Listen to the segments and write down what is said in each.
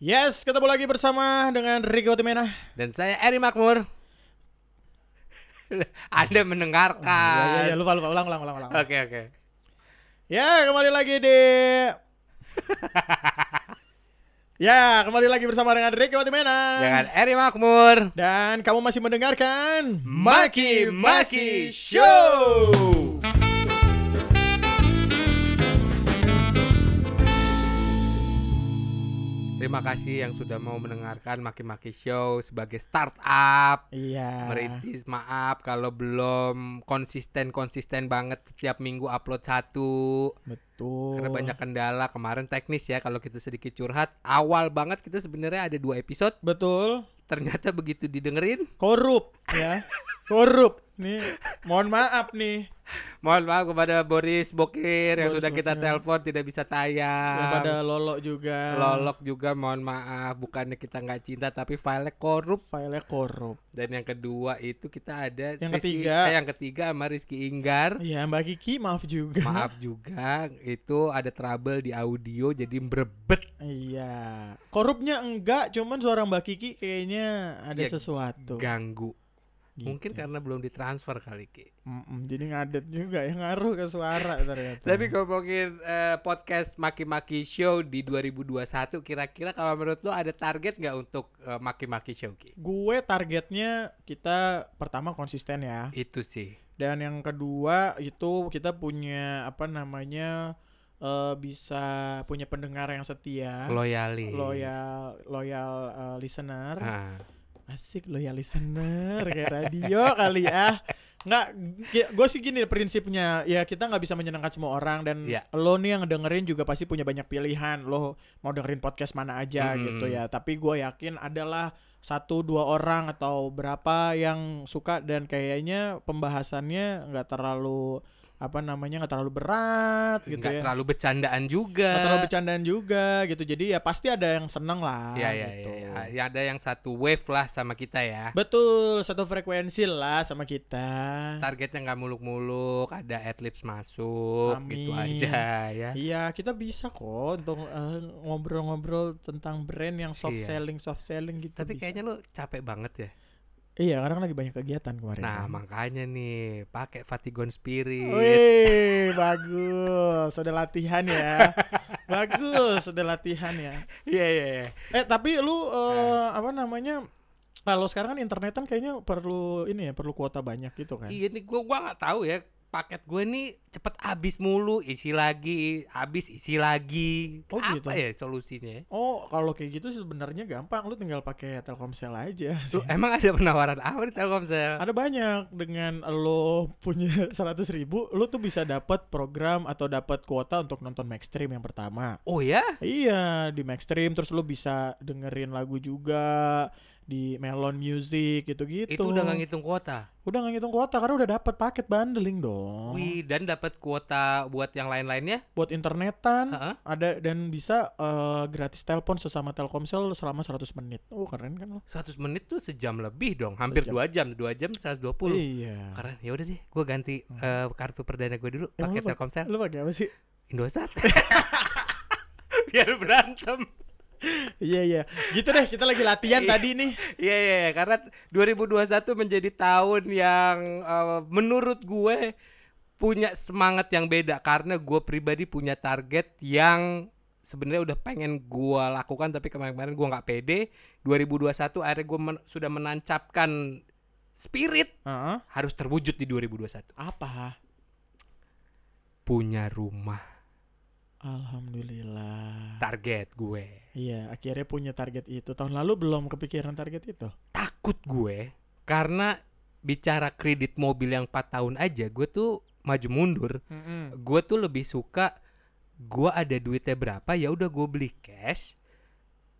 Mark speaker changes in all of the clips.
Speaker 1: Yes, ketemu lagi bersama dengan Rico Timena.
Speaker 2: Dan saya Eri Makmur. Anda mendengarkan.
Speaker 1: Ya, ya, lupa, lupa, ulang, ulang, ulang, ulang.
Speaker 2: Oke, oke.
Speaker 1: Ya, kembali lagi di... ya, kembali lagi bersama dengan Rico Timena.
Speaker 2: Dengan Eri Makmur.
Speaker 1: Dan kamu masih mendengarkan...
Speaker 2: Maki Maki Show. Terima kasih yang sudah mau mendengarkan Maki Maki Show sebagai startup.
Speaker 1: Iya.
Speaker 2: Merintis maaf kalau belum konsisten-konsisten banget setiap minggu upload satu
Speaker 1: Betul.
Speaker 2: karena banyak kendala kemarin teknis ya kalau kita sedikit curhat awal banget kita sebenarnya ada dua episode
Speaker 1: Betul.
Speaker 2: ternyata begitu didengerin
Speaker 1: Korup, ya. Korup. Nih, mohon maaf nih.
Speaker 2: mohon maaf kepada Boris Bokir
Speaker 1: Boris
Speaker 2: yang sudah kita
Speaker 1: Bokir.
Speaker 2: telepon tidak bisa tayang
Speaker 1: Kepada Lolo juga.
Speaker 2: Lolok juga mohon maaf bukannya kita nggak cinta tapi filenya korup
Speaker 1: Filenya korup.
Speaker 2: dan yang kedua itu kita ada
Speaker 1: Yang
Speaker 2: Rizky-
Speaker 1: ketiga.
Speaker 2: eh, yang ketiga sama Rizky Inggar
Speaker 1: Iya, Mbak Kiki maaf juga.
Speaker 2: Maaf juga, itu ada trouble di audio jadi merebet.
Speaker 1: Iya. Korupnya enggak, cuman suara Mbak Kiki kayaknya ada
Speaker 2: Ya,
Speaker 1: sesuatu.
Speaker 2: Ganggu.
Speaker 1: Gitu.
Speaker 2: Mungkin karena belum ditransfer kali Ki.
Speaker 1: Mm-mm, jadi ngadet juga ya ngaruh ke suara ternyata.
Speaker 2: Tapi ngomongin eh, podcast Maki-Maki Show di 2021 kira-kira kalau menurut lo ada target nggak untuk eh, Maki-Maki Show Ki?
Speaker 1: gue targetnya kita pertama konsisten ya.
Speaker 2: Itu sih.
Speaker 1: Dan yang kedua itu kita punya apa namanya eh, bisa punya pendengar yang setia,
Speaker 2: Loyalis.
Speaker 1: loyal loyal eh, listener.
Speaker 2: Ah.
Speaker 1: Asik loyal listener kayak radio kali ya. Nggak, gue sih gini prinsipnya ya kita nggak bisa menyenangkan semua orang dan
Speaker 2: Iya.
Speaker 1: lo nih yang dengerin juga pasti punya banyak pilihan lo mau dengerin podcast mana aja
Speaker 2: Mm-mm.
Speaker 1: gitu ya. Tapi gue yakin adalah satu dua orang atau berapa yang suka dan kayaknya pembahasannya nggak terlalu apa namanya nggak terlalu berat gitu
Speaker 2: Nggak
Speaker 1: ya.
Speaker 2: terlalu bercandaan juga.
Speaker 1: Nggak terlalu bercandaan juga gitu. Jadi ya pasti ada yang seneng lah
Speaker 2: Iya, iya,
Speaker 1: gitu.
Speaker 2: iya, iya. Ada yang satu wave lah sama kita ya.
Speaker 1: Betul, satu frekuensi lah sama kita.
Speaker 2: targetnya nggak muluk-muluk, ada adlibs masuk, gitu
Speaker 1: Amin.
Speaker 2: aja ya.
Speaker 1: Iya, kita bisa kok untuk eh, ngobrol-ngobrol tentang brand yang soft
Speaker 2: Iya.
Speaker 1: selling, soft selling gitu.
Speaker 2: Tapi
Speaker 1: bisa.
Speaker 2: kayaknya lu capek banget ya.
Speaker 1: iya, karena lagi banyak kegiatan kemarin.
Speaker 2: Nah,
Speaker 1: kan.
Speaker 2: makanya nih pakai Fatigon Spirit.
Speaker 1: Wih, bagus. Sudah latihan ya. bagus, sudah latihan ya.
Speaker 2: Iya, iya, iya.
Speaker 1: Eh, tapi lu eh,
Speaker 2: Nah.
Speaker 1: apa namanya? Kalau sekarang kan internetan kayaknya perlu ini ya, perlu kuota banyak gitu kan.
Speaker 2: Iya nih gua gua nggak tahu ya paket gue nih cepet habis mulu, isi lagi, habis isi lagi.
Speaker 1: Oh,
Speaker 2: Apa
Speaker 1: gitu.
Speaker 2: ya solusinya?
Speaker 1: Oh, kalau kayak gitu sebenarnya gampang. Lu tinggal pakai Telkomsel aja.
Speaker 2: Lu emang ada penawaran apa di Telkomsel?
Speaker 1: Ada banyak dengan lo punya 100 ribu, lo tuh bisa dapat program atau dapat kuota untuk nonton Maxstream yang pertama.
Speaker 2: Oh ya?
Speaker 1: Iya di Maxstream terus lo bisa dengerin lagu juga di Melon Music gitu-gitu.
Speaker 2: Itu udah nggak ngitung kuota.
Speaker 1: Udah nggak ngitung kuota karena udah dapat paket bundling dong.
Speaker 2: Wih, dan dapat kuota buat yang lain-lainnya?
Speaker 1: Buat internetan
Speaker 2: Heeh.
Speaker 1: ada dan bisa eh, gratis telepon sesama Telkomsel selama 100 menit. Oh keren kan lo?
Speaker 2: 100 menit tuh sejam lebih dong, hampir
Speaker 1: Sejam.
Speaker 2: dua jam, dua jam 120.
Speaker 1: Iya. Hmm.
Speaker 2: Karena ya udah deh, gue ganti eh, kartu perdana gue dulu
Speaker 1: Emang
Speaker 2: pakai
Speaker 1: lu pak-
Speaker 2: Telkomsel,
Speaker 1: Lo pakai apa sih?
Speaker 2: Indosat. Biar berantem.
Speaker 1: Iya iya. Gitu deh kita lagi latihan
Speaker 2: Iya.
Speaker 1: tadi nih.
Speaker 2: Iya iya iya, karena 2021 menjadi tahun yang eh, menurut gue punya semangat yang beda karena gue pribadi punya target yang sebenarnya udah pengen gue lakukan tapi kemarin-kemarin gue nggak pede. 2021 akhirnya gue men- sudah menancapkan spirit
Speaker 1: Heeh.
Speaker 2: harus terwujud di 2021.
Speaker 1: Apa?
Speaker 2: Punya rumah
Speaker 1: Alhamdulillah.
Speaker 2: target gue.
Speaker 1: Iya, akhirnya punya target itu. Tahun lalu belum kepikiran target itu.
Speaker 2: takut gue karena bicara kredit mobil yang 4 tahun aja gue tuh maju mundur gue tuh lebih suka gue ada duitnya berapa ya udah gue beli cash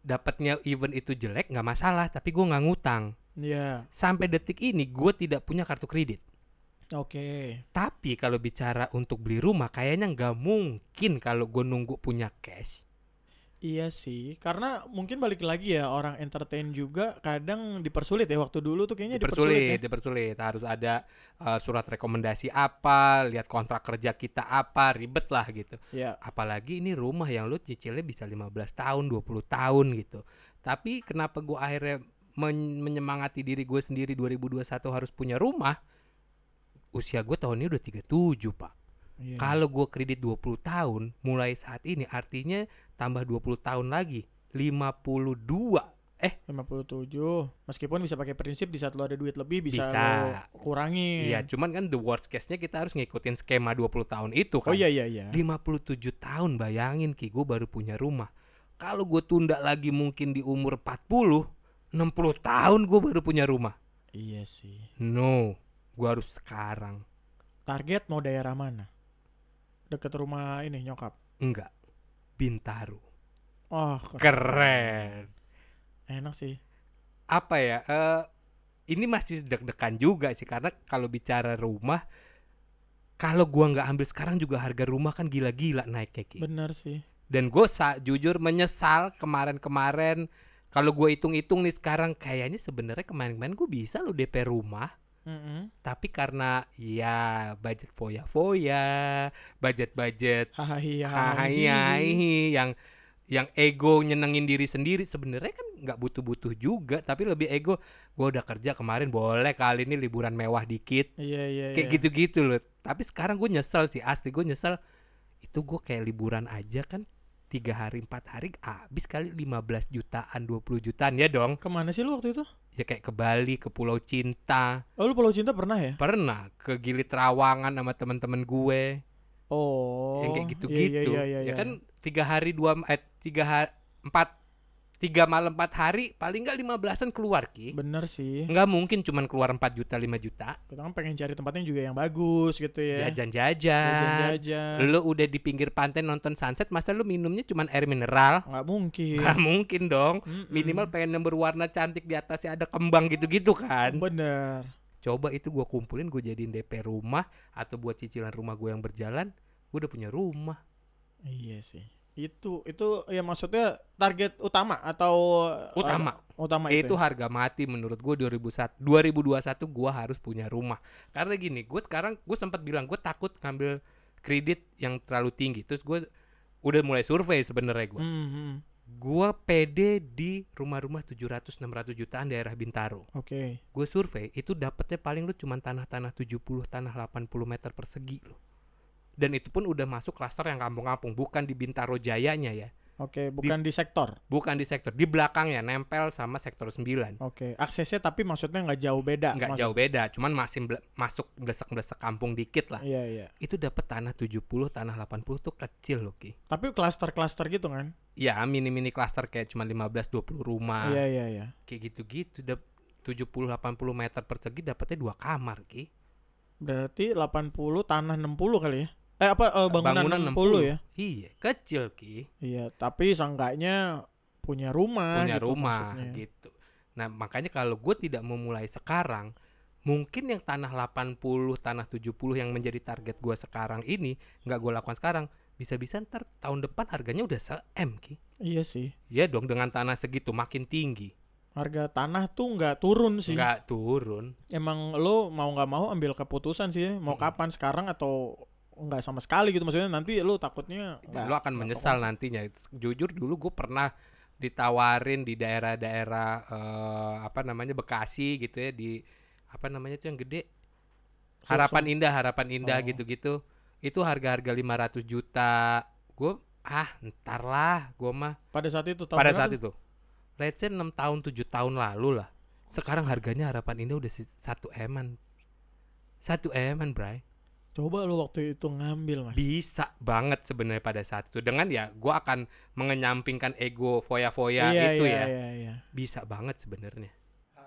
Speaker 2: dapatnya event itu jelek nggak masalah tapi gue nggak ngutang
Speaker 1: Iya.
Speaker 2: sampai detik ini gue tidak punya kartu kredit
Speaker 1: Oke.
Speaker 2: tapi kalau bicara untuk beli rumah kayaknya nggak mungkin kalau gue nunggu punya cash
Speaker 1: Iya sih, karena mungkin balik lagi ya orang entertain juga kadang dipersulit ya waktu dulu tuh kayaknya
Speaker 2: dipersulit,
Speaker 1: dipersulit. ya.
Speaker 2: dipersulit. Harus ada eh, surat rekomendasi apa, lihat kontrak kerja kita apa, ribet lah gitu.
Speaker 1: Ya,
Speaker 2: Apalagi ini rumah yang lu cicilnya bisa 15 tahun, 20 tahun gitu. Tapi kenapa gua akhirnya men- menyemangati diri gue sendiri 2021 harus punya rumah? Usia gue tahun ini udah 37, Pak.
Speaker 1: iya.
Speaker 2: Kalau gue kredit 20 tahun mulai saat ini artinya tambah 20 tahun lagi 52
Speaker 1: 57. Meskipun bisa pakai prinsip di saat lo ada duit lebih bisa,
Speaker 2: Bisa.
Speaker 1: lo kurangin.
Speaker 2: Iya, cuman kan the worst case-nya kita harus ngikutin skema 20 tahun itu kan.
Speaker 1: Oh iya iya iya.
Speaker 2: 57 tahun bayangin Ki, gue baru punya rumah. Kalau gue tunda lagi mungkin di umur 40, 60 tahun gue baru punya rumah.
Speaker 1: Iya sih.
Speaker 2: No, gue harus sekarang.
Speaker 1: Target mau daerah mana? Deket rumah ini nyokap.
Speaker 2: Enggak. Bintaro.
Speaker 1: Oh,
Speaker 2: Keren.
Speaker 1: Enak sih.
Speaker 2: apa ya eh ini masih deg-degan juga sih karena kalau bicara rumah kalau gua nggak ambil sekarang juga harga rumah kan gila-gila naiknya Ki.
Speaker 1: Bener sih.
Speaker 2: dan gue jujur menyesal kemarin-kemarin kalau gue hitung-hitung nih sekarang kayaknya sebenarnya kemarin-kemarin gue bisa lo DP rumah
Speaker 1: Mm-mm.
Speaker 2: tapi karena ya budget foya-foya budget-budget
Speaker 1: Hahaha. iya,
Speaker 2: Hai,
Speaker 1: iya.
Speaker 2: hai, yang yang ego nyenengin diri sendiri sebenarnya kan nggak butuh-butuh juga tapi lebih ego gue udah kerja kemarin boleh kali ini liburan mewah dikit
Speaker 1: Iya iya.
Speaker 2: kayak gitu.
Speaker 1: iya.
Speaker 2: gitu-gitu loh tapi sekarang gue nyesel sih asli gue nyesel itu gue kayak liburan aja kan tiga hari empat hari habis kali 15 jutaan 20 jutaan ya dong
Speaker 1: Kemana sih lu waktu itu?
Speaker 2: ya kayak ke Bali ke Pulau Cinta
Speaker 1: Oh, lu Pulau Cinta pernah ya?
Speaker 2: pernah ke Gili Trawangan sama teman-teman gue
Speaker 1: Oh.
Speaker 2: yang kayak
Speaker 1: iya,
Speaker 2: gitu-gitu
Speaker 1: Iya, iya, iya,
Speaker 2: ya kan tiga hari dua eh tiga hari empat tiga malam empat hari paling nggak lima belasan keluar ki
Speaker 1: Bener sih.
Speaker 2: nggak mungkin cuman keluar 4 juta 5 juta
Speaker 1: Kita kan pengen cari tempatnya juga yang bagus gitu ya.
Speaker 2: jajan-jajan
Speaker 1: Jajan-jajan.
Speaker 2: lu udah di pinggir pantai nonton sunset masa lu minumnya cuman air mineral
Speaker 1: Nggak mungkin.
Speaker 2: nggak mungkin dong
Speaker 1: Mm-mm.
Speaker 2: minimal pengen yang berwarna cantik di atasnya ada kembang gitu-gitu kan
Speaker 1: Bener.
Speaker 2: coba itu gua kumpulin gue jadiin DP rumah atau buat cicilan rumah gue yang berjalan gue udah punya rumah
Speaker 1: Iya sih. Itu itu ya maksudnya target utama atau
Speaker 2: Utama.
Speaker 1: uh, utama
Speaker 2: itu
Speaker 1: itu. ya?
Speaker 2: harga mati menurut gue 2001 2021 gue harus punya rumah karena gini gue sekarang gue sempat bilang gue takut ngambil kredit yang terlalu tinggi terus gue udah mulai survei sebenarnya gue
Speaker 1: Mhm.
Speaker 2: gue pede di rumah-rumah 700 600 jutaan daerah Bintaro
Speaker 1: Oke.
Speaker 2: gue survei itu dapatnya paling lu cuman tanah-tanah 70 tanah 80 meter persegi loh dan itu pun udah masuk klaster yang kampung-kampung bukan di Bintaro Jayanya ya
Speaker 1: Oke, bukan di, sektor.
Speaker 2: bukan di sektor di belakangnya nempel sama sektor 9
Speaker 1: Oke, aksesnya tapi maksudnya nggak jauh beda.
Speaker 2: nggak
Speaker 1: maksud-
Speaker 2: jauh beda cuman masih bele- masuk belesek-belesek kampung dikit lah
Speaker 1: Iya, iya.
Speaker 2: itu dapat tanah 70 tanah 80 tuh kecil loh Ki
Speaker 1: Tapi klaster-klaster gitu kan?
Speaker 2: ya mini-mini klaster kayak cuma 15-20 rumah
Speaker 1: Iya, iya, iya.
Speaker 2: kayak gitu-gitu dap 70-80 meter persegi dapatnya dua kamar Ki
Speaker 1: Berarti 80 tanah 60 kali ya? Eh apa eh, bangunan, 60 ya?
Speaker 2: iya kecil Ki
Speaker 1: Iya, tapi seenggaknya punya rumah
Speaker 2: punya
Speaker 1: gitu
Speaker 2: rumah
Speaker 1: maksudnya.
Speaker 2: gitu nah makanya kalau gue tidak memulai sekarang mungkin yang tanah 80 tanah 70 yang menjadi target gue sekarang ini nggak gue lakukan sekarang bisa-bisa ntar tahun depan harganya udah se m ki
Speaker 1: Iya sih.
Speaker 2: Iya dong dengan tanah segitu makin tinggi
Speaker 1: Harga tanah tuh nggak turun sih.
Speaker 2: nggak turun
Speaker 1: emang lo mau nggak mau ambil keputusan sih ya. mau
Speaker 2: Mm-mm.
Speaker 1: kapan sekarang atau nggak sama sekali gitu maksudnya nanti lo takutnya nggak-
Speaker 2: dan lo akan
Speaker 1: nggak
Speaker 2: menyesal nantinya jujur dulu gue pernah ditawarin di daerah-daerah eh, apa namanya Bekasi gitu ya di apa namanya tuh yang gede
Speaker 1: kok-
Speaker 2: Harapan
Speaker 1: so-
Speaker 2: Indah, Harapan Indah
Speaker 1: Oh.
Speaker 2: gitu-gitu. Itu harga-harga 500 juta. Gue ah ntar lah gue mah
Speaker 1: so- pada saat itu tahun
Speaker 2: pada
Speaker 1: berapa
Speaker 2: saat
Speaker 1: tuh?
Speaker 2: itu. Let's say 6 tahun 7 tahun lalu lah. Sekarang harganya Harapan Indah udah 1 eman. 1 eman, Bray.
Speaker 1: coba lo waktu itu ngambil mas
Speaker 2: Bisa banget sebenarnya pada saat itu dengan ya gue akan mengenyampingkan ego foya-foya itu
Speaker 1: iya,
Speaker 2: ya.
Speaker 1: iya, iya.
Speaker 2: Bisa banget sebenarnya.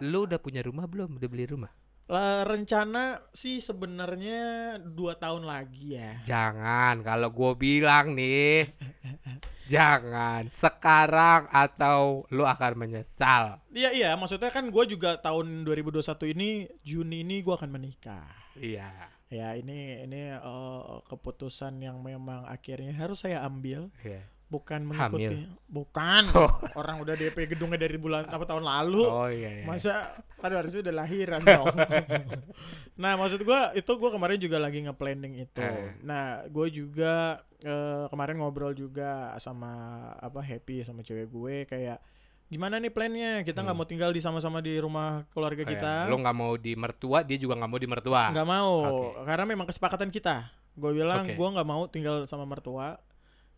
Speaker 2: Lu udah punya rumah belum? Udah beli rumah?
Speaker 1: Lah, rencana sih sebenarnya dua tahun lagi ya
Speaker 2: Jangan kalau gue bilang nih Jangan sekarang atau lu akan menyesal
Speaker 1: iya iya maksudnya kan gue juga tahun 2021 ini Juni ini gue akan menikah
Speaker 2: Iya
Speaker 1: ya ini ini eh, keputusan yang memang akhirnya harus saya ambil
Speaker 2: iya.
Speaker 1: bukan mengikuti bukan
Speaker 2: Oh.
Speaker 1: orang udah DP gedungnya dari bulan apa tahun lalu
Speaker 2: Oh iya. iya.
Speaker 1: Masa tadi harusnya udah lahiran dong. nah, maksud gua itu gua kemarin juga lagi nge-planning itu.
Speaker 2: Eh.
Speaker 1: Nah, gue juga eh, kemarin ngobrol juga sama apa Happy sama cewek gue kayak gimana nih plannya? Kita nggak mau tinggal di sama-sama di rumah keluarga
Speaker 2: Hmm. Oh, iya.
Speaker 1: kita.
Speaker 2: Lo nggak mau di mertua, dia juga nggak mau di mertua.
Speaker 1: nggak mau
Speaker 2: Oke.
Speaker 1: karena memang kesepakatan kita. Gue bilang
Speaker 2: Oke.
Speaker 1: gua nggak mau tinggal sama mertua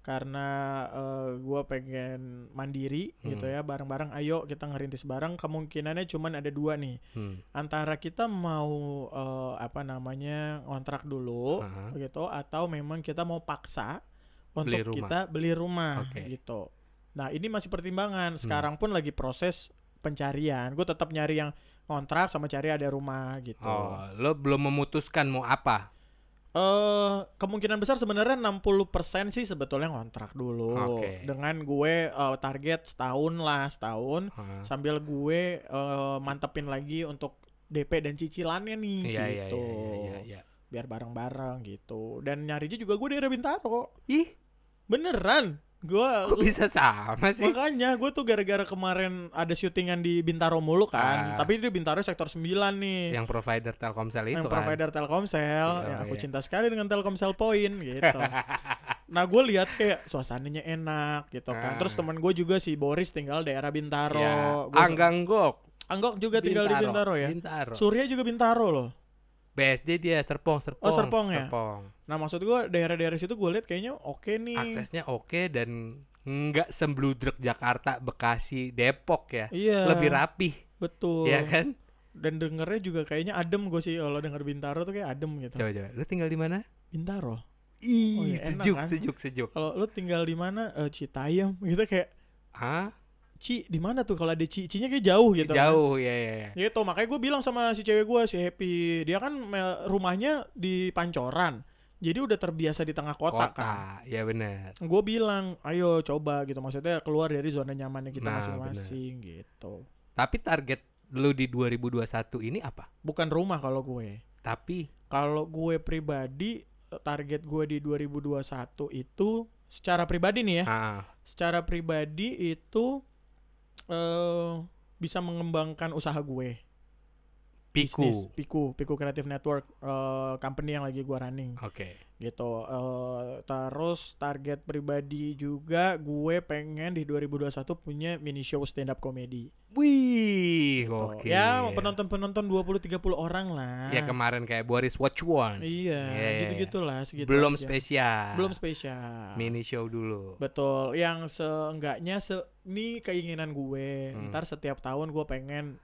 Speaker 1: karena eh, gua pengen mandiri gitu
Speaker 2: Hmm.
Speaker 1: ya bareng-bareng ayo kita ngerintis bareng kemungkinannya cuman ada dua nih
Speaker 2: Hmm.
Speaker 1: antara kita mau eh, apa namanya kontrak dulu
Speaker 2: Aha.
Speaker 1: gitu atau memang kita mau paksa untuk
Speaker 2: Beli rumah.
Speaker 1: kita beli rumah
Speaker 2: Oke. Hmm.
Speaker 1: gitu. Nah, ini masih pertimbangan. Sekarang pun lagi proses pencarian. Gue tetap nyari yang kontrak sama cari ada rumah gitu.
Speaker 2: Oh, lo belum memutuskan mau apa?
Speaker 1: Eh, kemungkinan besar sebenarnya 60% sih sebetulnya kontrak dulu.
Speaker 2: Oke.
Speaker 1: Dengan gue eh, target setahun lah, setahun
Speaker 2: Hah.
Speaker 1: sambil gue eh, mantepin lagi untuk DP dan cicilannya nih
Speaker 2: Iya iya
Speaker 1: gitu.
Speaker 2: iya iya. iya.
Speaker 1: Biar bareng-bareng gitu. Dan nyarinya juga gue dari Bintaro.
Speaker 2: Ih,
Speaker 1: Beneran. Gua
Speaker 2: kok bisa sama sih?
Speaker 1: makanya gue tuh gara-gara kemarin ada syutingan di Bintaro mulu kan.
Speaker 2: Ah.
Speaker 1: Tapi di Bintaro sektor 9 nih.
Speaker 2: Yang provider Telkomsel itu
Speaker 1: yang
Speaker 2: kan.
Speaker 1: provider Telkomsel,
Speaker 2: Iya,
Speaker 1: yang aku
Speaker 2: iya.
Speaker 1: cinta sekali dengan Telkomsel Point gitu. nah gue lihat kayak suasananya enak gitu kan.
Speaker 2: Ah.
Speaker 1: Terus teman gue juga si Boris tinggal daerah Bintaro.
Speaker 2: Iya.
Speaker 1: Gua se-
Speaker 2: Angganggok.
Speaker 1: Anggok juga tinggal di Bintaro ya.
Speaker 2: Bintaro.
Speaker 1: Surya juga Bintaro loh.
Speaker 2: BSD dia Serpong, Serpong.
Speaker 1: Serpong ya?
Speaker 2: Serpong.
Speaker 1: Nah maksud gue daerah-daerah situ gue lihat kayaknya oke nih.
Speaker 2: Aksesnya oke dan nggak sembludrek Jakarta, Bekasi, Depok ya.
Speaker 1: Iya.
Speaker 2: Lebih rapih,
Speaker 1: Betul.
Speaker 2: ya kan?
Speaker 1: Dan dengernya juga kayaknya adem gue sih kalau denger Bintaro tuh kayak adem gitu.
Speaker 2: Coba coba. Lu tinggal di mana?
Speaker 1: Bintaro.
Speaker 2: Ih,
Speaker 1: iya, enak
Speaker 2: sejuk,
Speaker 1: kan?
Speaker 2: sejuk, sejuk.
Speaker 1: Kalau lu tinggal di mana? Eh, Citayam gitu kayak
Speaker 2: Hah?
Speaker 1: Ci di mana tuh kalau ada Ci? Cinya kayak jauh gitu. kan.
Speaker 2: Jauh, ya ya ya.
Speaker 1: Gitu, makanya gue bilang sama si cewek gue, si Happy, dia kan me- rumahnya di Pancoran. Jadi udah terbiasa di tengah kota, kan.
Speaker 2: ya benar.
Speaker 1: Gue bilang, ayo coba gitu. Maksudnya keluar dari zona nyamannya kita
Speaker 2: Nah,
Speaker 1: masing-masing gitu.
Speaker 2: Tapi target lu di 2021 ini apa?
Speaker 1: Bukan rumah kalau gue.
Speaker 2: Tapi
Speaker 1: Kalau gue pribadi, target gue di 2021 itu secara pribadi nih ya.
Speaker 2: ah,
Speaker 1: Secara pribadi itu eh bisa mengembangkan usaha gue.
Speaker 2: piku.
Speaker 1: Bisnis, Piku, Piku Creative Network eh, company yang lagi gua running
Speaker 2: Oke.
Speaker 1: gitu. Eh, terus target pribadi juga gue pengen di 2021 punya mini show stand up comedy.
Speaker 2: Wih,
Speaker 1: Tuh.
Speaker 2: oke.
Speaker 1: Ya, penonton-penonton 20 30 orang lah.
Speaker 2: Ya kemarin kayak Boris Watch One.
Speaker 1: Iya,
Speaker 2: Iya, iya,
Speaker 1: gitu-gitulah segitu. aja.
Speaker 2: Belum spesial.
Speaker 1: Belum spesial.
Speaker 2: mini show dulu.
Speaker 1: Betul, yang seenggaknya se ini keinginan gue.
Speaker 2: Hmm.
Speaker 1: Ntar setiap tahun gue pengen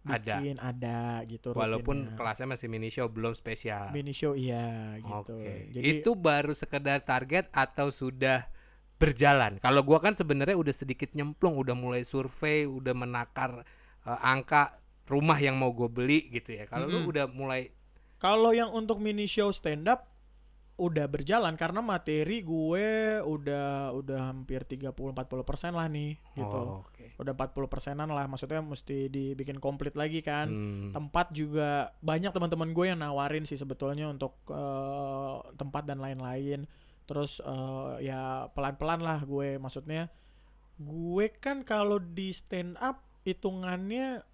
Speaker 2: Ada.
Speaker 1: bikin ada gitu
Speaker 2: Walaupun
Speaker 1: rutinnya.
Speaker 2: kelasnya masih mini show belum spesial.
Speaker 1: mini show iya gitu.
Speaker 2: Oke.
Speaker 1: Jadi
Speaker 2: Itu baru sekedar target atau sudah berjalan? Kalau gua kan sebenarnya udah sedikit nyemplung, udah mulai survei, udah menakar eh, angka rumah yang mau gue beli gitu ya. Kalau
Speaker 1: Mm-mm.
Speaker 2: lu udah mulai
Speaker 1: kalau yang untuk mini show stand up udah berjalan karena materi gue udah udah hampir 30 40% lah nih gitu.
Speaker 2: Oh, oke.
Speaker 1: Udah 40 persenan lah maksudnya mesti dibikin komplit lagi kan.
Speaker 2: Hmm.
Speaker 1: Tempat juga banyak teman-teman gue yang nawarin sih sebetulnya untuk eh, tempat dan lain-lain. Terus eh, ya pelan-pelan lah gue maksudnya gue kan kalau di stand up hitungannya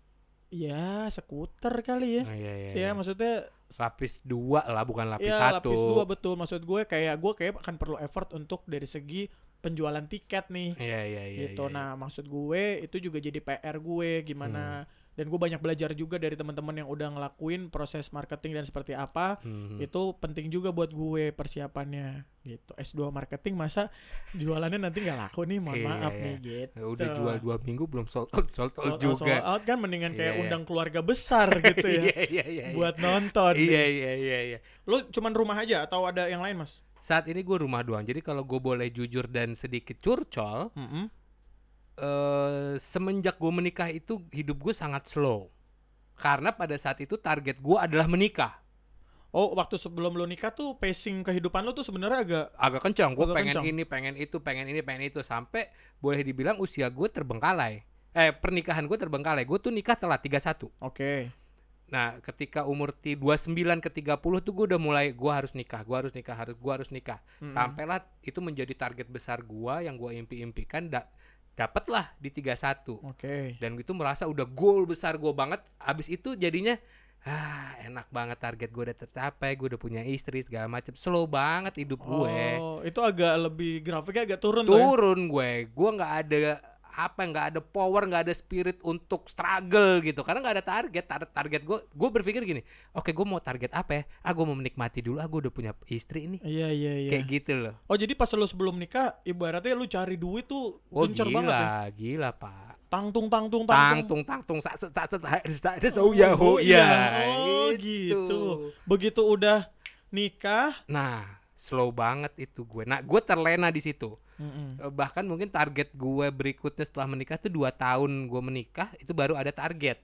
Speaker 1: ya skuter kali ya.
Speaker 2: Oh, iya, iya,
Speaker 1: Ya
Speaker 2: iya.
Speaker 1: maksudnya
Speaker 2: lapis dua lah bukan lapis
Speaker 1: Iya
Speaker 2: satu.
Speaker 1: lapis dua betul maksud gue kayak gue kayak akan perlu effort untuk dari segi penjualan tiket nih
Speaker 2: Iya iya iya.
Speaker 1: gitu
Speaker 2: iya,
Speaker 1: nah maksud gue itu juga jadi PR gue gimana
Speaker 2: Hmm.
Speaker 1: dan gue banyak belajar juga dari teman-teman yang udah ngelakuin proses marketing dan seperti apa
Speaker 2: iya. Hmm.
Speaker 1: itu penting juga buat gue persiapannya gitu S2 marketing masa jualannya nanti nggak laku nih mohon
Speaker 2: Iya,
Speaker 1: maaf
Speaker 2: iya.
Speaker 1: nih gitu
Speaker 2: udah jual dua minggu belum sold out
Speaker 1: Sold
Speaker 2: sold
Speaker 1: out,
Speaker 2: out
Speaker 1: sold
Speaker 2: juga.
Speaker 1: out kan mendingan kayak
Speaker 2: Iya, iya.
Speaker 1: undang keluarga besar gitu ya
Speaker 2: Iya iya iya. iya.
Speaker 1: buat nonton
Speaker 2: Iya iya iya iya.
Speaker 1: lo cuman rumah aja atau ada yang lain mas
Speaker 2: Saat ini gue rumah doang. Jadi kalau gue boleh jujur dan sedikit curcol,
Speaker 1: Mm-mm.
Speaker 2: eh semenjak gue menikah itu hidup gue sangat slow. Karena pada saat itu target gue adalah menikah.
Speaker 1: Oh, waktu sebelum lu nikah tuh pacing kehidupan lu tuh sebenarnya agak
Speaker 2: Agak kencang. Gue
Speaker 1: Agak
Speaker 2: pengen
Speaker 1: kencang.
Speaker 2: ini, pengen itu, pengen ini, pengen itu sampai boleh dibilang usia gue terbengkalai. Eh pernikahan gue terbengkalai. Gue tuh nikah telat 31.
Speaker 1: oke.
Speaker 2: Nah, ketika umur ti- 29 ke 30 tuh gue udah mulai gua harus nikah, gua harus nikah, harus gua harus nikah.
Speaker 1: Mm-mm.
Speaker 2: Sampailah itu menjadi target besar gua yang gua impi-impikan da dapatlah di 31.
Speaker 1: Oke.
Speaker 2: Dan itu merasa udah goal besar gua banget. Abis itu jadinya ah enak banget target gua udah tercapai, gua udah punya istri segala macem Slow banget hidup gue.
Speaker 1: Oh, itu agak lebih grafiknya agak turun tuh. ya?
Speaker 2: Turun gue. Gua nggak ada apa nggak ada power nggak ada spirit untuk struggle gitu karena nggak ada target Tar- target gue gue berpikir gini oke gue mau target apa ya ah gue mau menikmati dulu ah gue udah punya istri nih
Speaker 1: Iya iya iya.
Speaker 2: kayak gitu loh
Speaker 1: Oh jadi pas lu sebelum nikah ibaratnya lu cari duit tuh
Speaker 2: Wah
Speaker 1: gencar
Speaker 2: Oh, gila,
Speaker 1: banget ya.
Speaker 2: gila pak.
Speaker 1: Tangtung tangtung tangtung.
Speaker 2: Tangtung tangtung saset saset harus harus oh ya oh ya.
Speaker 1: Oh gitu. Begitu udah nikah.
Speaker 2: Nah, slow banget itu gue. Nah, gue terlena di situ.
Speaker 1: Mm-mm.
Speaker 2: Eh, Bahkan mungkin target gue berikutnya setelah menikah tuh dua tahun gue menikah itu baru ada target,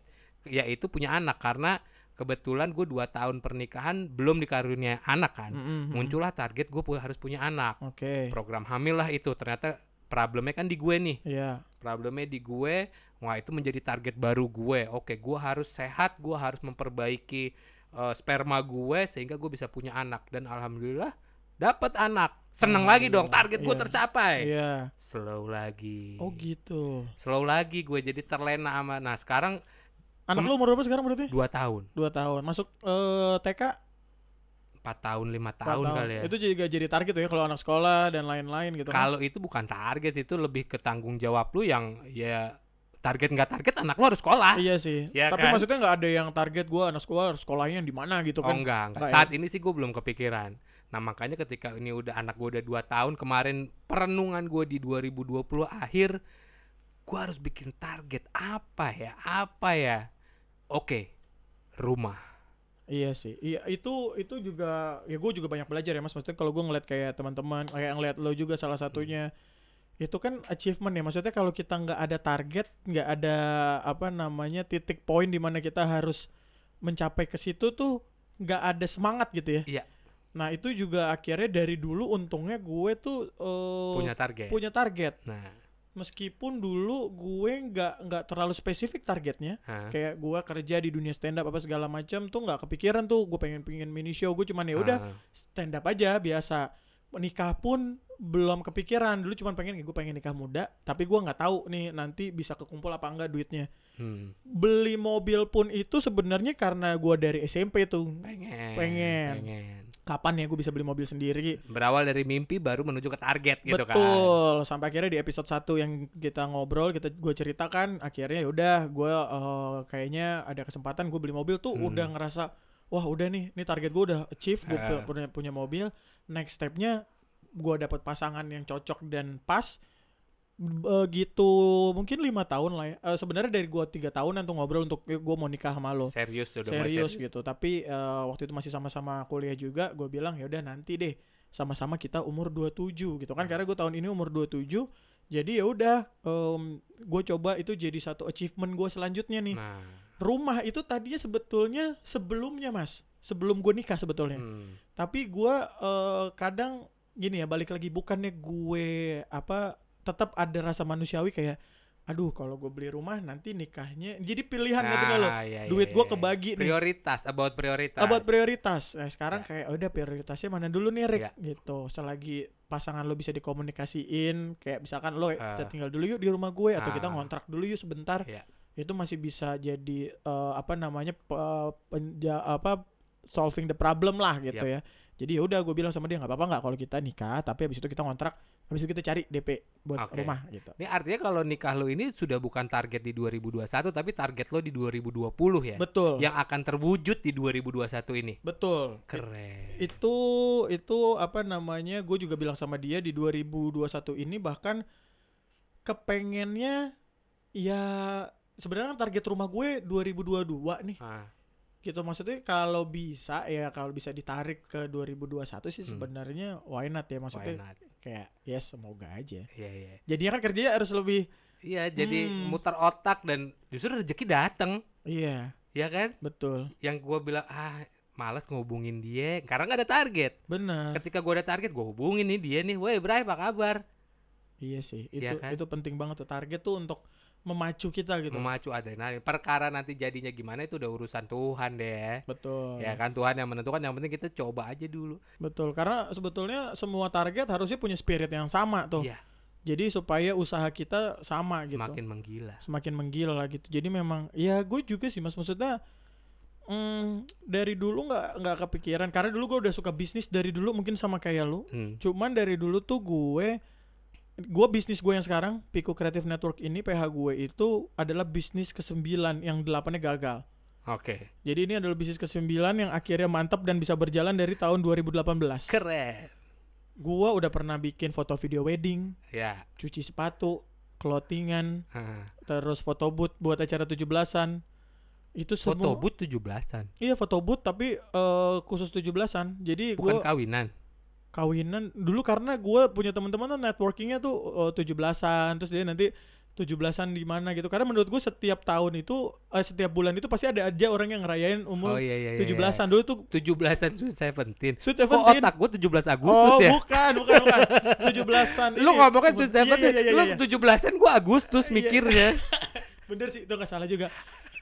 Speaker 2: yaitu punya anak karena kebetulan gue dua tahun pernikahan belum dikaruniai anak kan.
Speaker 1: Mm-mm.
Speaker 2: Muncullah target gue pu- harus punya anak.
Speaker 1: Mm-hmm. Oke.
Speaker 2: Program hamil lah itu ternyata problemnya kan di gue nih.
Speaker 1: Iya.
Speaker 2: problemnya di gue wah itu menjadi target baru gue oke gue harus sehat gue harus memperbaiki eh, sperma gue sehingga gue bisa punya anak dan alhamdulillah dapat anak seneng lagi dong
Speaker 1: Alhamdulillah,
Speaker 2: target gue
Speaker 1: iya.
Speaker 2: tercapai
Speaker 1: Iya.
Speaker 2: slow lagi
Speaker 1: Oh gitu.
Speaker 2: slow lagi gue jadi terlena sama nah sekarang
Speaker 1: Anak
Speaker 2: Kem-
Speaker 1: lu umur berapa sekarang berarti?
Speaker 2: dua tahun
Speaker 1: Dua tahun. Masuk eh, TK?
Speaker 2: empat tahun lima
Speaker 1: Empat
Speaker 2: tahun kali ya
Speaker 1: Itu juga jadi target tuh ya kalau anak sekolah dan lain-lain gitu kan.
Speaker 2: kalau itu bukan target itu lebih ke tanggung jawab lu yang ya target nggak target anak lu harus sekolah
Speaker 1: Iya sih.
Speaker 2: Iya
Speaker 1: Tapi
Speaker 2: kan?
Speaker 1: maksudnya nggak ada yang target gua anak sekolah sekolahnya yang di mana gitu
Speaker 2: Oh
Speaker 1: kan.
Speaker 2: enggak, enggak.
Speaker 1: Enggak ya?
Speaker 2: Saat ini sih gue belum kepikiran. Nah makanya ketika ini udah anak gue udah 2 tahun kemarin perenungan gue di 2020 akhir gue harus bikin target apa ya? Apa ya? Oke, rumah.
Speaker 1: Iya sih. Iya itu itu juga ya gue juga banyak belajar ya Mas. Maksudnya kalau gue ngeliat kayak teman-teman kayak ngeliat lo juga salah satunya itu kan achievement ya. Maksudnya kalau kita nggak ada target, nggak ada apa namanya titik poin di mana kita harus mencapai ke situ tuh nggak ada semangat gitu ya.
Speaker 2: Iya.
Speaker 1: Nah itu juga akhirnya dari dulu untungnya gue tuh eh,
Speaker 2: Punya target.
Speaker 1: punya target.
Speaker 2: Nah,
Speaker 1: Meskipun dulu gue nggak nggak terlalu spesifik targetnya
Speaker 2: hah?
Speaker 1: kayak gua kerja di dunia stand up apa segala macam tuh nggak kepikiran tuh gue pengen pengen mini show gue cuman ya udah
Speaker 2: Ah,
Speaker 1: stand up aja biasa menikah pun belum kepikiran dulu cuman pengen gue pengen nikah muda tapi gua nggak tahu nih nanti bisa kekumpul apa enggak duitnya
Speaker 2: hmm,
Speaker 1: beli mobil pun itu sebenarnya karena gua dari SMP tuh
Speaker 2: pengen,
Speaker 1: Pengen.
Speaker 2: pengen.
Speaker 1: kapan ya gue bisa beli mobil sendiri
Speaker 2: Berawal dari mimpi baru menuju ke target gitu kan.
Speaker 1: Betul. Sampai akhirnya di episode 1 yang kita ngobrol, kita gue ceritakan akhirnya ya yaudah gue eh, kayaknya ada kesempatan gue beli mobil tuh
Speaker 2: Hmm.
Speaker 1: udah ngerasa wah udah nih, nih target gue udah achieve, gue
Speaker 2: Ah.
Speaker 1: punya, punya mobil. Next stepnya gue dapat pasangan yang cocok dan pas begitu mungkin lima tahun lah ya. Eh, sebenarnya dari gua tiga tahunan tuh ngobrol untuk gue mau nikah sama lo
Speaker 2: Serius tuh udah mulai
Speaker 1: serius gitu tapi eh, waktu itu masih sama-sama kuliah juga gue bilang ya udah nanti deh sama-sama kita umur 27
Speaker 2: Nah.
Speaker 1: gitu kan karena gue tahun ini umur 27 jadi ya udah gue coba itu jadi satu achievement gue selanjutnya nih
Speaker 2: Nah,
Speaker 1: rumah itu tadinya sebetulnya sebelumnya mas sebelum gue nikah sebetulnya
Speaker 2: hmm,
Speaker 1: tapi gue eh, kadang gini ya balik lagi bukannya gue apa tetap ada rasa manusiawi kayak aduh kalau gue beli rumah nanti nikahnya jadi pilihan Kan, gitu ngerti nggak lo
Speaker 2: Ah, iya, iya,
Speaker 1: duit
Speaker 2: iya,
Speaker 1: gua
Speaker 2: iya.
Speaker 1: kebagi nih.
Speaker 2: Prioritas, about prioritas. Ya.
Speaker 1: About prioritas. Nah, sekarang kayak udah prioritasnya mana dulu nih Rick
Speaker 2: Iya.
Speaker 1: gitu. Selagi pasangan lo bisa dikomunikasiin kayak misalkan lo kita
Speaker 2: Ah.
Speaker 1: tinggal dulu yuk di rumah gue atau kita
Speaker 2: Ah.
Speaker 1: ngontrak dulu yuk sebentar.
Speaker 2: Iya.
Speaker 1: Itu masih bisa jadi eh, apa namanya pe- penja- apa solving the problem lah gitu ya. Jadi ya udah gue bilang sama dia nggak apa-apa nggak kalau kita nikah tapi habis itu kita ngontrak habis itu kita cari DP buat
Speaker 2: Oke.
Speaker 1: rumah gitu.
Speaker 2: Ini artinya kalau nikah lo ini sudah bukan target di 2021 tapi target lo di 2020 ya.
Speaker 1: Betul.
Speaker 2: Yang akan terwujud di 2021 ini.
Speaker 1: Betul.
Speaker 2: Keren.
Speaker 1: itu itu apa namanya gue juga bilang sama dia di 2021 ini bahkan kepengennya ya sebenarnya kan target rumah gue 2022 nih
Speaker 2: Ah,
Speaker 1: gitu maksudnya kalau bisa ya kalau bisa ditarik ke 2021 sih
Speaker 2: Hmm.
Speaker 1: sebenarnya why not ya
Speaker 2: why
Speaker 1: maksudnya
Speaker 2: not?
Speaker 1: kayak ya semoga aja
Speaker 2: Iya, iya.
Speaker 1: jadinya kan kerjanya harus lebih
Speaker 2: Iya, jadi
Speaker 1: Hmm.
Speaker 2: muter otak dan justru rezeki datang,
Speaker 1: iya
Speaker 2: ya kan?
Speaker 1: betul
Speaker 2: Yang gua bilang ah malas ngehubungin dia karena nggak ada target.
Speaker 1: benar
Speaker 2: Ketika gua ada target, gua hubungin nih dia nih, "Woi, Bray, apa kabar?"
Speaker 1: Iya sih, itu
Speaker 2: Iya kan?
Speaker 1: itu penting banget tuh target tuh untuk memacu kita gitu.
Speaker 2: memacu adrenalin. Perkara nanti jadinya gimana itu udah urusan Tuhan deh.
Speaker 1: betul.
Speaker 2: Ya kan Tuhan yang menentukan. Yang penting kita coba aja dulu.
Speaker 1: Betul, karena sebetulnya semua target harusnya punya spirit yang sama tuh.
Speaker 2: Iya.
Speaker 1: Jadi supaya usaha kita sama gitu.
Speaker 2: Semakin menggila.
Speaker 1: Semakin menggila lah gitu. Jadi memang ya gue juga sih Mas maksudnya mm, dari dulu nggak nggak kepikiran karena dulu gue udah suka bisnis dari dulu mungkin sama kayak lu.
Speaker 2: Hmm.
Speaker 1: Cuman dari dulu tuh gue gue bisnis gue yang sekarang Pico Creative Network ini PH gue itu adalah bisnis ke yang delapannya gagal.
Speaker 2: Oke.
Speaker 1: Jadi ini adalah bisnis ke-9 yang akhirnya mantap dan bisa berjalan dari tahun 2018.
Speaker 2: Keren.
Speaker 1: Gua udah pernah bikin foto video wedding,
Speaker 2: Ya.
Speaker 1: cuci sepatu, clothingan,
Speaker 2: Heeh.
Speaker 1: terus foto booth buat acara 17-an. Itu semua
Speaker 2: Foto booth 17-an.
Speaker 1: Iya, foto booth tapi eh, khusus 17-an. Jadi gua
Speaker 2: Bukan kawinan.
Speaker 1: kawinan dulu karena gua punya teman-teman tuh networkingnya tuh eh, 17-an, terus dia nanti 17-an di mana gitu. Karena menurut gue setiap tahun itu eh, setiap bulan itu pasti ada aja orang yang ngerayain
Speaker 2: Oh
Speaker 1: umur
Speaker 2: iya iya iya.
Speaker 1: 17-an. Dulu tuh
Speaker 2: 17-an Sweet Seventeen.
Speaker 1: Sweet
Speaker 2: Kok
Speaker 1: Seventeen.
Speaker 2: otak gue 17 Agustus
Speaker 1: oh,
Speaker 2: ya?
Speaker 1: bukan, bukan, bukan. 17-an.
Speaker 2: Lu
Speaker 1: ini.
Speaker 2: ngomongnya Sweet
Speaker 1: Iya, iya,
Speaker 2: Seventeen.
Speaker 1: iya, iya,
Speaker 2: Lu
Speaker 1: iya.
Speaker 2: 17-an gue Agustus
Speaker 1: Iya.
Speaker 2: mikirnya.
Speaker 1: Bener sih, itu gak salah juga.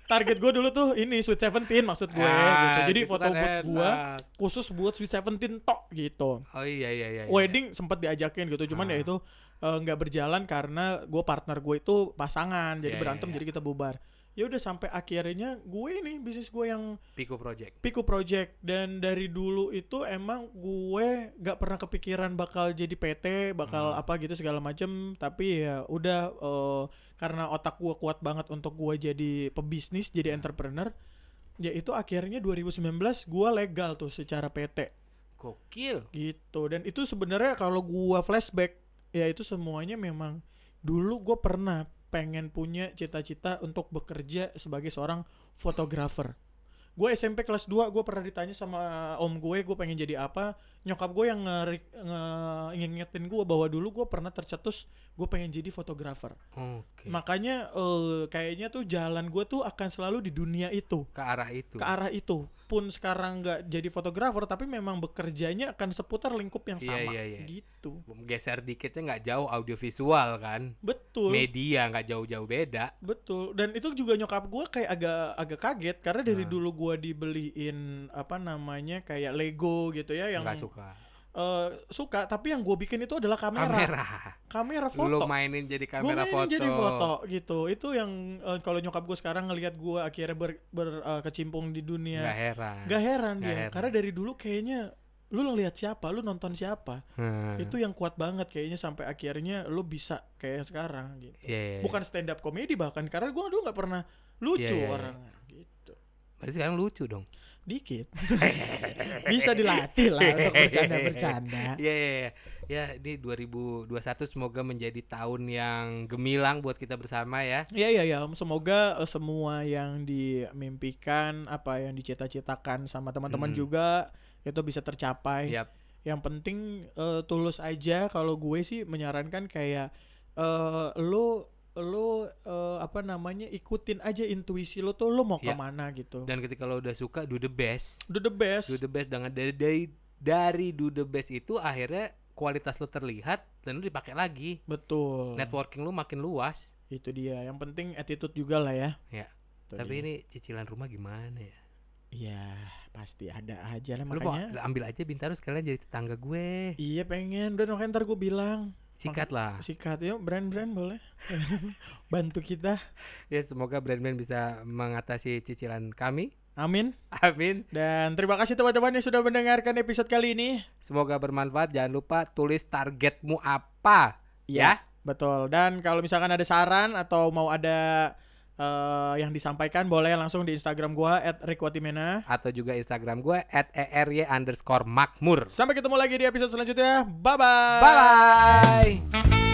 Speaker 1: Target gue dulu tuh ini Sweet Seventeen maksud gue. gitu.
Speaker 2: Ah,
Speaker 1: Jadi
Speaker 2: gitu
Speaker 1: foto
Speaker 2: kan
Speaker 1: booth gue
Speaker 2: enak.
Speaker 1: khusus buat Sweet Seventeen tok gitu.
Speaker 2: Oh iya iya iya. iya.
Speaker 1: Wedding sempat diajakin gitu, cuman
Speaker 2: Ah.
Speaker 1: ya itu eh, nggak berjalan karena gue partner gue itu pasangan, jadi
Speaker 2: Iya, iya,
Speaker 1: berantem,
Speaker 2: iya.
Speaker 1: jadi kita bubar. Ya udah sampai akhirnya gue ini bisnis gue yang
Speaker 2: Pico Project.
Speaker 1: Piku Project dan dari dulu itu emang gue gak pernah kepikiran bakal jadi PT, bakal
Speaker 2: Hmm.
Speaker 1: apa gitu segala macem. Tapi ya udah eh, karena otak gue kuat banget untuk gue jadi pebisnis, jadi entrepreneur. Ya itu akhirnya 2019 gue legal tuh secara PT
Speaker 2: Gokil.
Speaker 1: gitu. Dan itu sebenarnya kalau gue flashback ya itu semuanya memang dulu gue pernah pengen punya cita-cita untuk bekerja sebagai seorang fotografer. Gue SMP kelas 2 gue pernah ditanya sama om gue gue pengen jadi apa. Nyokap gue yang nge, nge- ngingetin gue bahwa dulu gue pernah tercetus gue pengen jadi fotografer.
Speaker 2: Oke.
Speaker 1: Makanya eh, kayaknya tuh jalan gue tuh akan selalu di dunia itu
Speaker 2: Ke arah itu.
Speaker 1: ke arah itu pun sekarang nggak jadi fotografer tapi memang bekerjanya akan seputar lingkup yang
Speaker 2: Iya,
Speaker 1: sama
Speaker 2: iya, iya.
Speaker 1: gitu
Speaker 2: Geser dikitnya nggak jauh audiovisual kan.
Speaker 1: betul
Speaker 2: Media nggak jauh-jauh beda.
Speaker 1: betul dan itu juga nyokap gue kayak agak agak kaget karena dari
Speaker 2: Nah.
Speaker 1: dulu gue dibeliin apa namanya kayak Lego gitu ya yang
Speaker 2: Nggak suka.
Speaker 1: eh, suka tapi yang gue bikin itu adalah kamera
Speaker 2: Kamera.
Speaker 1: kamera,
Speaker 2: Lu
Speaker 1: foto
Speaker 2: mainin jadi
Speaker 1: gue
Speaker 2: kamera foto.
Speaker 1: jadi foto gitu itu yang eh, kalau nyokap gue sekarang ngelihat gue akhirnya ber- ber- eh, kecimpung di dunia
Speaker 2: Nggak heran.
Speaker 1: Gak heran
Speaker 2: Nggak
Speaker 1: dia,
Speaker 2: heran.
Speaker 1: karena dari dulu kayaknya lu ngelihat siapa, lu nonton siapa,
Speaker 2: Hmm.
Speaker 1: itu yang kuat banget kayaknya sampai akhirnya lu bisa kayak sekarang gitu.
Speaker 2: Iya, iya, iya.
Speaker 1: Bukan stand up komedi bahkan karena gua dulu nggak pernah lucu
Speaker 2: Iya, iya, iya.
Speaker 1: orangnya gitu.
Speaker 2: Berarti sekarang lucu dong.
Speaker 1: Dikit. bisa dilatih lah untuk bercanda-bercanda.
Speaker 2: Iya, iya, iya. Ya, ini 2021 semoga menjadi tahun yang gemilang buat kita bersama ya.
Speaker 1: Iya iya iya, semoga eh, semua yang dimimpikan, apa yang dicita-citakan sama teman-teman
Speaker 2: Hmm.
Speaker 1: juga itu bisa tercapai.
Speaker 2: Yap.
Speaker 1: Yang penting eh, tulus aja kalau gue sih menyarankan kayak eh lu lu eh, apa namanya ikutin aja intuisi lu tuh lu mau
Speaker 2: Ya.
Speaker 1: kemana gitu.
Speaker 2: Dan ketika lo udah suka, do the best.
Speaker 1: Do the best.
Speaker 2: Do the best dengan dari dari, dari do the best itu akhirnya kualitas lo terlihat dan lo dipakai lagi.
Speaker 1: Betul.
Speaker 2: Networking lo makin luas.
Speaker 1: Itu dia. Yang penting attitude juga lah ya.
Speaker 2: Ya.
Speaker 1: Itu dia.
Speaker 2: Tapi ini cicilan rumah gimana ya?
Speaker 1: Iya, pasti ada aja lah
Speaker 2: Lo mau
Speaker 1: makanya.
Speaker 2: ambil aja Bintaro sekalian jadi tetangga gue.
Speaker 1: Iya pengen, dan makanya ntar gue bilang
Speaker 2: Sikat lah.
Speaker 1: sikat yuk brand-brand boleh bantu kita
Speaker 2: Ya semoga brand-brand bisa mengatasi cicilan kami.
Speaker 1: amin
Speaker 2: Amin.
Speaker 1: dan terima kasih teman-teman yang sudah mendengarkan episode kali ini
Speaker 2: Semoga bermanfaat. Jangan lupa tulis targetmu apa. Ya.
Speaker 1: betul dan kalau misalkan ada saran atau mau ada eh, yang disampaikan boleh langsung di instagram gua at
Speaker 2: Atau juga Instagram gue at ERY underscore makmur.
Speaker 1: sampai ketemu lagi di episode selanjutnya bye bye
Speaker 2: Bye-bye.